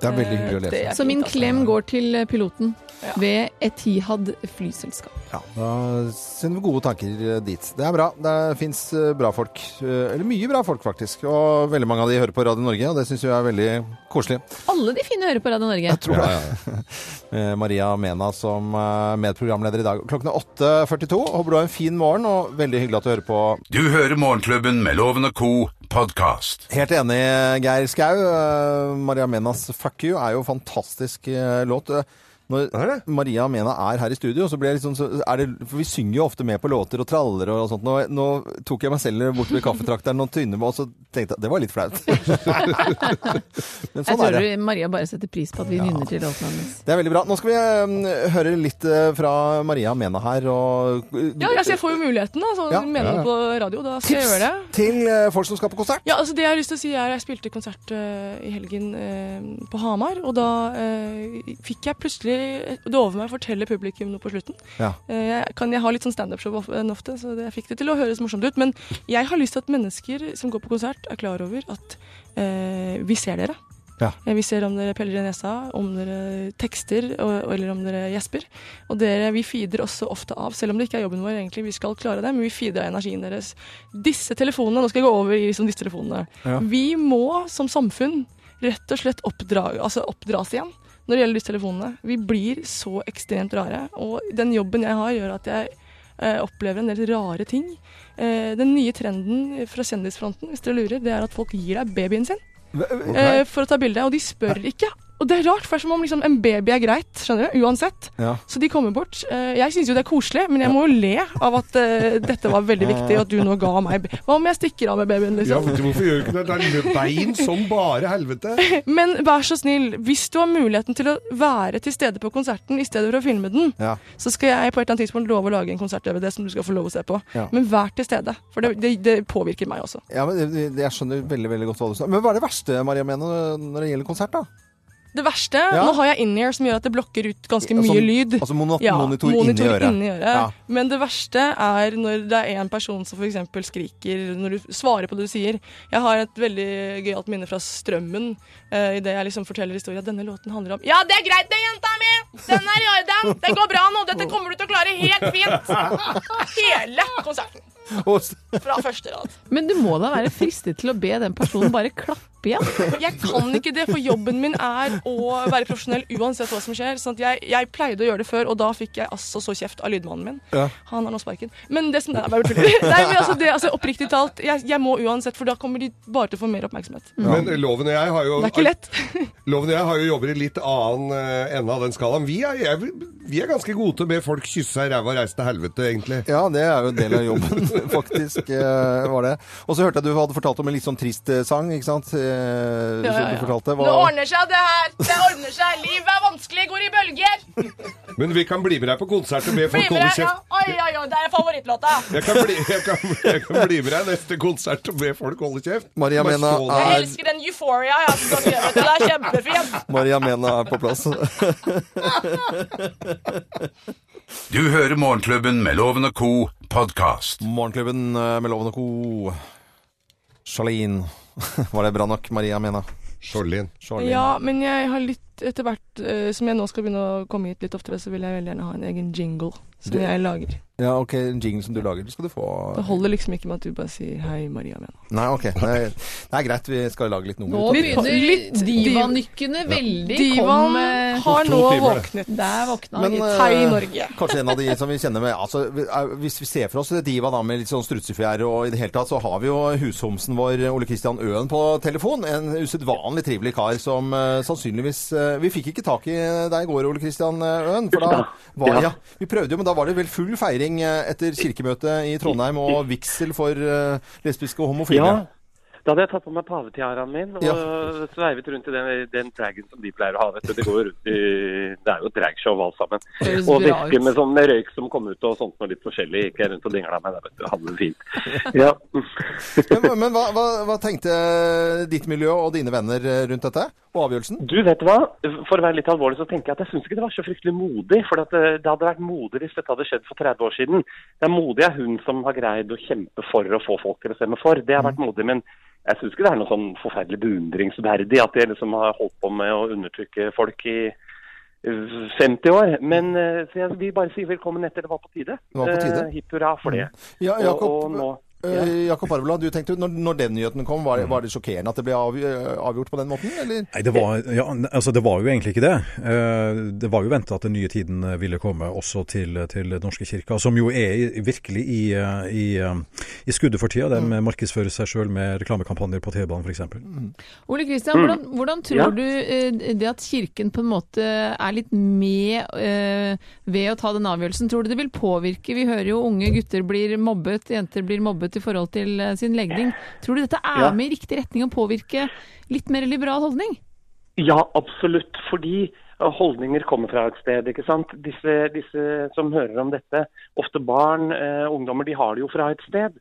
Det er veldig hyggelig å det lese. er Så min fint, altså. klem går til piloten Ja. ved Etihad flyselskap. Ja, da sender vi gode tanker dit. Det er bra. Det fins bra folk. eh, Eller mye bra folk, faktisk. Og veldig mange av de hører på Radio Norge, og det syns jeg er veldig koselig. Alle de fine hører på Radio Norge. Tror jeg. Eh, Maria Mena som eh, medprogramleder i dag. Klokken er 8.42. Håper du har en fin morgen, og veldig hyggelig at du hører på Du hører Morgenklubben med Loven og co. podkast. Helt enig, Geir Skau. Eh, Maria Menas 'Fuck You' er jo en fantastisk eh, låt. Eh, Når Er det? Maria Mena er her i studio, så blir jeg liksom så er det, For vi synger jo ofte med på låter og traller og sånt. Nå, nå tok jeg meg selv bort ved kaffetrakteren og tynne meg, og så tenkte jeg at det var litt flaut. Men Jeg sånn er tror det. du Maria bare setter pris på at vi nynner til låten hennes. Det er veldig bra. Nå skal vi eh, høre litt eh, fra Maria Mena her. Og, eh, Ja, altså, jeg får jo muligheten, da. Så Ja. mener du på radio, da skal jeg gjøre det. Til eh, folk som skal på konsert. Ja, altså det jeg har lyst til å si er Jeg spilte konsert eh, i helgen eh, på Hamar, og da eh, fikk jeg plutselig eh, Det over meg å fortelle publikum noe på slutten. Ja. Eh, jeg, kan, jeg har litt sånn standup-show of- enn ofte, så det, jeg fikk det til å høres morsomt ut. Men jeg har lyst til at mennesker som går på konsert, er klar over at eh, vi ser dere. Ja. Eh, Vi ser om dere peller i nesa, om dere tekster og, eller om dere gjesper. Og dere, vi feeder også ofte av, selv om det ikke er jobben vår egentlig, vi skal klare det, men vi feeder av energien deres. Disse telefonene, nå skal jeg gå over i liksom, disse telefonene. Ja. Vi må som samfunn rett og slett oppdra, altså oppdras igjen når det gjelder disse telefonene. Vi blir så ekstremt rare, og den jobben jeg har gjør at jeg eh, opplever en del rare ting. Eh, den nye trenden fra kjendisfronten, hvis dere lurer, det er at folk gir deg babyen sin eh, for å ta bilde, og de spør ikke. Og det er rart, for det er som om liksom, en baby er greit, skjønner du, uansett. Ja. Så de kommer bort. Eh, jeg syns jo det er koselig, men jeg må jo le av at eh, dette var veldig viktig, og at du nå ga meg b- Hva om jeg stikker av med babyen, Ja, liksom? vet du, hvorfor gjør du ikke det? Det er bein som bare helvete. Men vær så snill, hvis du har muligheten til å være til stede på konserten i stedet for å filme den, Ja. så skal jeg på et eller annet tidspunkt love å lage en konsert-DVD som du skal få lov å se på. Ja. Men vær til stede, for det, det, det påvirker meg også. Ja, men det- det- Jeg skjønner veldig veldig godt hva du sa. Men hva er det verste Maria Mena, når det gjelder konsert? da? Det verste Ja. Nå har jeg in-ear som gjør at det blokker ut ganske mye Som- lyd. Altså mono monitor, inni øret. inni Ja. Men det verste er når det er en person som f.eks. skriker når du svarer på det du sier. Jeg har et veldig gøyalt minne fra Strømmen uh, idet jeg liksom forteller historien at denne låten handler om Ja, det er greit det, jenta mi! Den er i orden! Det går bra nå! Dette kommer du til å klare helt fint! Hele konserten. Og s- Fra første rad. Men du må da være fristet til å be den personen bare klappe igjen? Jeg kan ikke det, for jobben min er å være profesjonell uansett hva som skjer. Sånn at jeg, jeg pleide å gjøre det før, og da fikk jeg altså så kjeft av lydmannen min. Ja. Han har nå sparken. Men det som Nei, bare tuller. Nei, men altså, det, altså oppriktig talt, jeg, jeg må uansett, for da kommer de bare til å få mer oppmerksomhet. Men loven og jeg har jo Det er ikke lett. Loven og jeg har jo jobber i litt annen eh, ende av den skalaen. Vi er, jeg, vi er ganske gode til å be folk kysse seg i ræva og reise til helvete, egentlig. Ja, det er jo en del av jobben, faktisk. eh, var det. Og så hørte jeg du hadde fortalt om en litt sånn trist eh, sang, ikke sant? Eh, Ja, ja, som ja. Du fortalte. Det Hva, ordner seg, det her. Det ordner seg. Livet er vanskelig, går i bølger. Men vi kan bli med deg på konsert og be Bli folk med holde deg, ja. kjeft. Oi, oi, oi, det er favorittlåta. Jeg kan, bli, jeg, kan, jeg kan bli med deg neste konsert og be folk holde kjeft. Maria Bare Mena ah. stå Jeg der. er- elsker den Euphoria. Ja, som du har skrevet. Den er kjempefin. Maria Mena er på plass. Du hører Morgenklubben med Loven og co. podkast. Morgenklubben eh, med Loven og co. Charlene. Var det bra nok, Maria Mena? Skjoldin. Charlene. Ja, men jeg har litt etter hvert eh, som jeg nå skal begynne å komme hit litt oftere, så vil jeg veldig gjerne ha en egen jingle som Det- jeg lager. Ja, ok, en jingle som du lager, det skal du få. Det holder liksom ikke med at du bare sier 'hei, Maria Mena'. Nei, ok. Det er, det er greit, vi skal lage litt nummer Nå ut av det. begynner Litt divanykkene veldig. Kom, Divaen eh, har nå timer, det. våknet. der våkna Men, han. eh, gitt. Hei, Norge. Kanskje en av de som vi kjenner med altså, er- Hvis vi ser for oss Diva da med litt sånn strutsefjær og i det hele tatt, så har vi jo hushomsen vår Ole Kristian Øen på telefon. En usedvanlig trivelig kar som eh, sannsynligvis eh, Vi fikk ikke tak i deg i går, Ole Kristian eh, Øen. For da var, ja, vi prøvde jo, men da var det vel full feiring eh, etter kirkemøtet i Trondheim og vigsel for eh, lesbiske og homofile. Ja. Da hadde jeg tatt på meg pavetiaraen min og Ja. sveivet rundt i den, den dragen som de pleier å ha. vet du. Det går jo rundt i, det er jo et dragshow alt sammen. Høres Og bra vesker ut. med sånn røyk som kom ut og sånt noe litt forskjellig. Gikk jeg rundt og dingla meg der, vet du. Hadde det fint. Ja. Men, men hva, hva, hva tenkte ditt miljø og dine venner eh, rundt dette og avgjørelsen? Du vet du hva, for å være litt alvorlig så tenker jeg at jeg syns ikke det var så fryktelig modig. For at eh, det, det hadde vært modig hvis dette hadde skjedd for 30 år siden. Det er modig er hun som har greid å kjempe for å få folk til å stemme for. Det har vært modig. men jeg syns ikke det er noe sånn forferdelig beundringsverdig at de liksom har holdt på med å undertrykke folk i eh, 50 år. Men eh, så jeg vil bare si velkommen etter. Det var på tide. Det var på tide. Eh, Hipp hurra for det. Ja, Og- Jakob, og nå- Eh, Jakob Arveland, du tenkte, når, når den nyheten kom, var det, var det sjokkerende at det ble avg- eh, avgjort på den måten? Eller? Nei, det var, ja, ne- altså det var jo egentlig ikke det. Eh, Det var jo venta at den nye tiden eh, ville komme også til, til Den norske kirka, som jo er i- virkelig i, eh, i, eh, i skuddet for tida. De markedsfører seg sjøl med reklamekampanjer på T-banen f.eks. Ole Kristian, Mm. hvordan, hvordan tror Ja. du eh, det at kirken på en måte er litt med eh, ved å ta den avgjørelsen, tror du det vil påvirke? Vi hører jo unge gutter blir mobbet, jenter blir mobbet i forhold til eh, sin legning. Tror du dette er Ja. med i riktig retning å påvirke litt mer liberal holdning? Ja, absolutt. Fordi eh, holdninger kommer fra et sted. ikke sant? Disse, disse som hører om dette, ofte barn, eh, ungdommer, de har det jo fra et sted.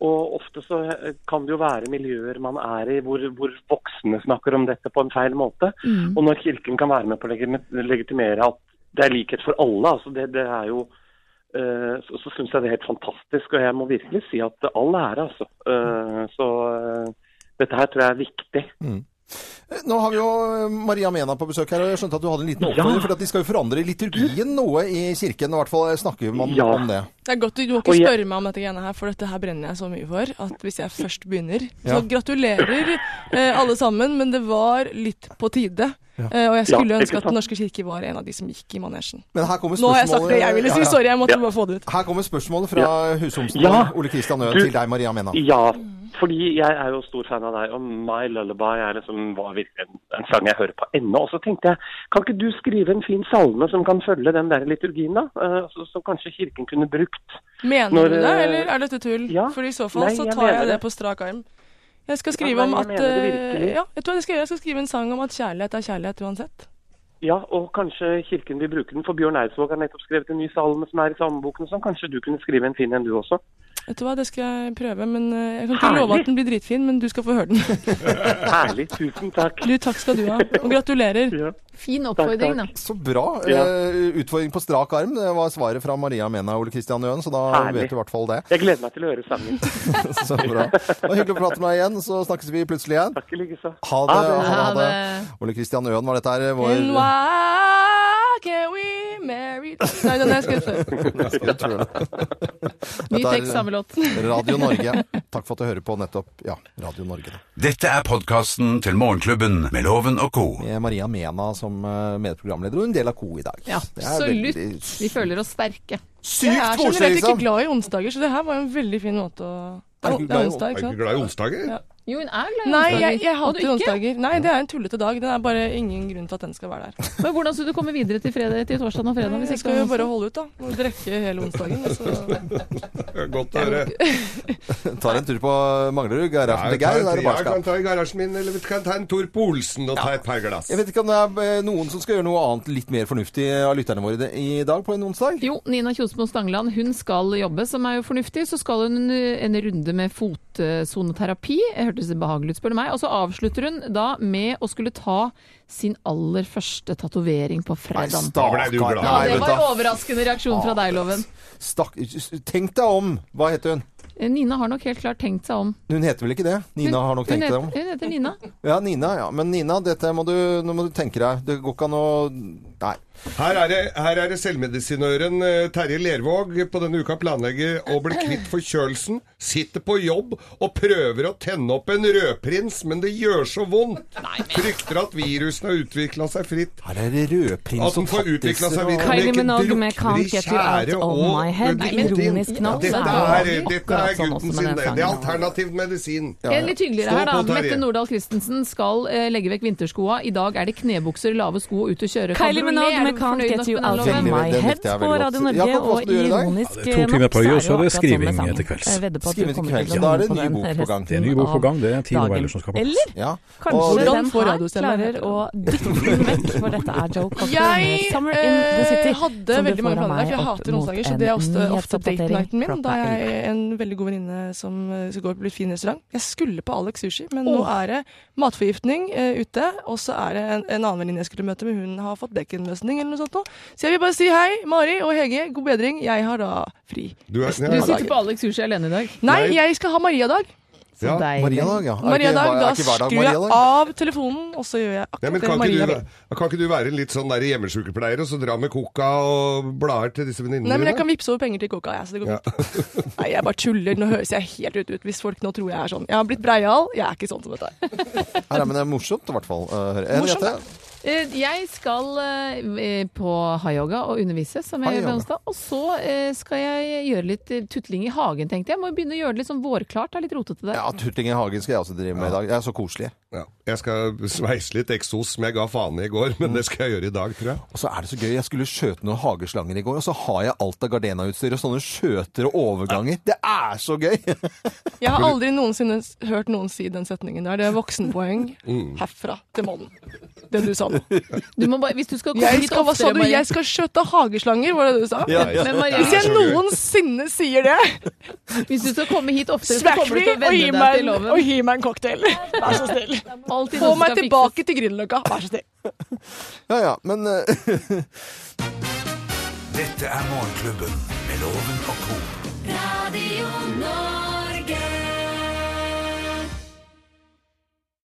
Og ofte så eh, kan det jo være miljøer man er i hvor, hvor voksne snakker om dette på en feil måte. Mm. Og når Kirken kan være med på å legitime- legitimere at det er likhet for alle, altså det, det er jo eh, så, så syns jeg det er helt fantastisk. Og jeg må virkelig si at all ære, altså. Eh, Så eh, dette her tror jeg er viktig. Eh, Nå har vi jo eh, Maria Mena på besøk her, og jeg skjønte at du hadde en liten Ja. oppfordring, for at de skal jo forandre liturgien noe i kirken, og i hvert fall snakker man Ja. om det. Det er godt Du må Og ikke jeg- spørre meg om dette greiene her, for dette her brenner jeg så mye for. At hvis jeg først begynner Ja. Så gratulerer eh, alle sammen, men det var litt på tide. Ja. Eh, og jeg skulle Ja, ikke ønske at sant? Den norske kirke var en av de som gikk i manesjen. Men her kommer Nå har jeg sagt det jeg ville si. Ja, ja. Sorry, jeg måtte bare få det ut. Her kommer spørsmålet fra hushomsen Ja. Ole Kristian Øen Du- til deg, Maria Mena. Ja, fordi jeg er jo stor fan av deg, og My Lullaby er liksom, var virkelig en, en sang jeg hører på ennå. Og så tenkte jeg, kan ikke du skrive en fin salme som kan følge den der liturgien, da? Eh, så, så kanskje kirken kunne brukt. Mener Når, du det, eh, eller er dette tull? For i så fall Nei, så jeg tar jeg mener det. det. på strak arm. Jeg skal Ja, skrive nei, om jeg at mener det eh, virkelig. Ja, vet du hva jeg skal gjøre? Jeg skal skrive en sang om at kjærlighet er kjærlighet uansett. Ja, og kanskje kirken vil bruke den, for Bjørn Eidsvåg har nettopp skrevet en ny salme som er i salmeboken, så kanskje du kunne skrive en fin en du også. Vet du hva, det skal jeg prøve, men eh, jeg kan ikke Herlig. love at den blir dritfin, men du skal få høre den. Herlig, tusen takk. Du, takk skal du ha, og gratulerer. Fin oppfordring, da. Så bra. Ja. Eh, Utfordring på strak arm, det var svaret fra Maria Mena og Ole Kristian Øen, så da Herlig. vet du i hvert fall det. Jeg gleder meg til å høre sangen. Så bra. Det var hyggelig å prate med deg igjen, så snakkes vi plutselig igjen. Takk i like så. Ha det. Ha det. Ha det. Ha Ha det. Ole Kristian Øen var dette her. eh, Vår... And why can we marry Nei, den har jeg skrevet før. Jeg tror det. Ny Dette er tekst, samme låt. Radio Norge. Takk for at du hører på nettopp ja, Radio Norge. Da. Dette er podkasten til Morgenklubben med Loven og co. Med Eh, Maria Mena som eh, medprogramleder og en del av Co i dag. Ja, Det er absolutt. veldig- Vi føler oss sterke. Jeg er generelt ikke liksom. glad i onsdager, så det her var en veldig fin måte å Det Er er du ikke glad i- onsdag, ikke er du sant? ikke glad i onsdager? Ja. Jo, hun er glad i Nei, onsdager. jeg, jeg Og du hater ikke? onsdager. Nei, det er en tullete dag. Det er bare ingen grunn til at den skal være der. Men hvordan skal du komme videre til fredag til torsdag og fredag? Hvis Jeg ikke skal det Sånn. jo er bare onsdag? holde ut, da. Må drikke hele onsdagen. og så- Godt å høre. Tar en tur på Manglerud, garasjen Jeg til Geir. Der er det jeg kan barskap. ta i garasjen min, eller vi kan ta en tur på Olsen og ta et par glass. Jeg vet ikke om det er eh, noen som skal gjøre noe annet litt mer fornuftig av lytterne våre i det- i dag på en onsdag? Jo, Nina Kjosmo Stangeland hun skal jobbe, som er jo fornuftig. Så skal hun en, en runde med fotsoneterapi. Det Hørtes behagelig ut, spør du meg. Og så avslutter hun da med å skulle ta sin aller første tatovering på fredag. stakkar. Da ble du glad. Ja, Nei, det vet var du. overraskende reaksjon fra deg, Loven. Stakk, tenk deg om! Hva heter hun? Nina har nok helt klart tenkt seg om. Hun heter vel ikke det? Nina har nok Hun tenkt deg om. heter, hun heter Nina. Ja, Nina. ja. Men Nina, dette må du, nå må du tenke deg. Det går ikke an å Nei. Her er det, her er det selvmedisinøren eh, Terje Lervåg på denne uka planlegger å bli kvitt forkjølelsen. Sitter på jobb og prøver å tenne opp en rødprins, men det gjør så vondt. Frykter at virusen har utvikla seg fritt. Her er det rødprins At den og får utvikla tattiser seg og- videre. Kylie Leken Minogue med drukner i Can't Get You tjære Out of og- My Head. Nei, men Ironisk det- nok, Dette så er er, det dette akkurat er sånn også gutten med sin, den det. sangen. Det er alternativ medisin. En litt hyggeligere Stå her, da. på, Terje. Mette Nordahl Christensen skal eh, legge vekk vinterskoa. I dag er det knebukser, lave sko og ut og Kylie kjøre. Cabriolet, Minogue er med du Can't fornøyd Get nok You med den Out of låten? My Head på Radio Norge, og ironisk Det er to timer på øy, og så er det skriving til kvelds. Skriving til kvelds. og Da er det en ny bok på gang. Det er en ny bok på gang. Det er ti noveller som skal på plass. Eller Ja. kanskje Hvordan den får her radiostemmen klarer å dytte den vekk, for dette er Joe Cocker Jeg med Summer in the City. eh, som hadde du veldig får av mange planer, for meg jeg opp hater mot onsdager. Så en det er ofte, ofte date nyhetsoppdatering nighten min. fra Da er Berlin. jeg en veldig god venninne som eh, skal gå på en fin restaurant. Jeg skulle på Alex Sushi, men nå Åh. er det matforgiftning eh, ute. Og så er det en, en annen venninne jeg skulle møte, men hun har fått bekkenløsning eller noe sånt nå. Så jeg vil bare si hei, Mari og Hege. God bedring. Jeg har da fri. Du er- resten ja. av Du sitter dagen. På Alex Husje alene i dag. Nei, jeg skal ha Maria-dag. Så deilig. Mariadag, ja. Er Maria ikke- Dag, er da ikke hver dag skrur jeg Maria Dag? av telefonen, og så gjør jeg akkurat Nei, men det kan Maria ikke, du, vil. væ- kan ikke du være en litt sånn der hjemmesykepleier og så dra med coca og blader til disse venninnene Nei, men jeg kan vippse over penger til Coca, jeg, så det går Ja. fint. Nei, jeg bare tuller. Nå høres jeg helt ut ut hvis folk nå tror jeg er sånn. Jeg har blitt breial, jeg er ikke sånn som dette. her. Her, men det er morsomt, i hvert fall. eh, hører jeg. Morsomt, Henriette? Eh, Jeg skal eh, på high-yoga og undervise, som jeg gjør på High-yoga. onsdag. Og så eh, skal jeg gjøre litt eh, tutling i hagen, tenkte jeg. Må jo begynne å gjøre det litt sånn vårklart. Det er litt rotete der. Ja, tutling i hagen skal jeg også drive med i dag. Jeg er så koselig. Ja. Jeg skal sveise litt eksos som jeg ga faen i i går, men det skal jeg gjøre i dag, tror jeg. Og så er det så gøy. Jeg skulle skjøte noen hageslanger i går, og så har jeg alt av Gardena-utstyr og sånne skjøter og overganger. Det er så gøy! Jeg har aldri noensinne s- hørt noen si den setningen der. Det er voksenpoeng herfra til mannen. Det du sa nå. Du må bare, hvis du skal komme Jeg hit skal, hva sa oftere, du? Maria. Jeg skal skjøte hageslanger, var det du sa? Ja, ja. Men Maria, Hvis jeg noensinne sier det, hvis du skal komme hit oftere, så smack kommer du me til å og gi venne deg meg til en, loven. og gi meg en cocktail. Vær så snill. Alltid Få noe som meg skal fikses. tilbake til Grünerløkka. Vær så snill. Ja, ja, men eh, Dette er Morgenklubben med Loven og co. Radio Norge.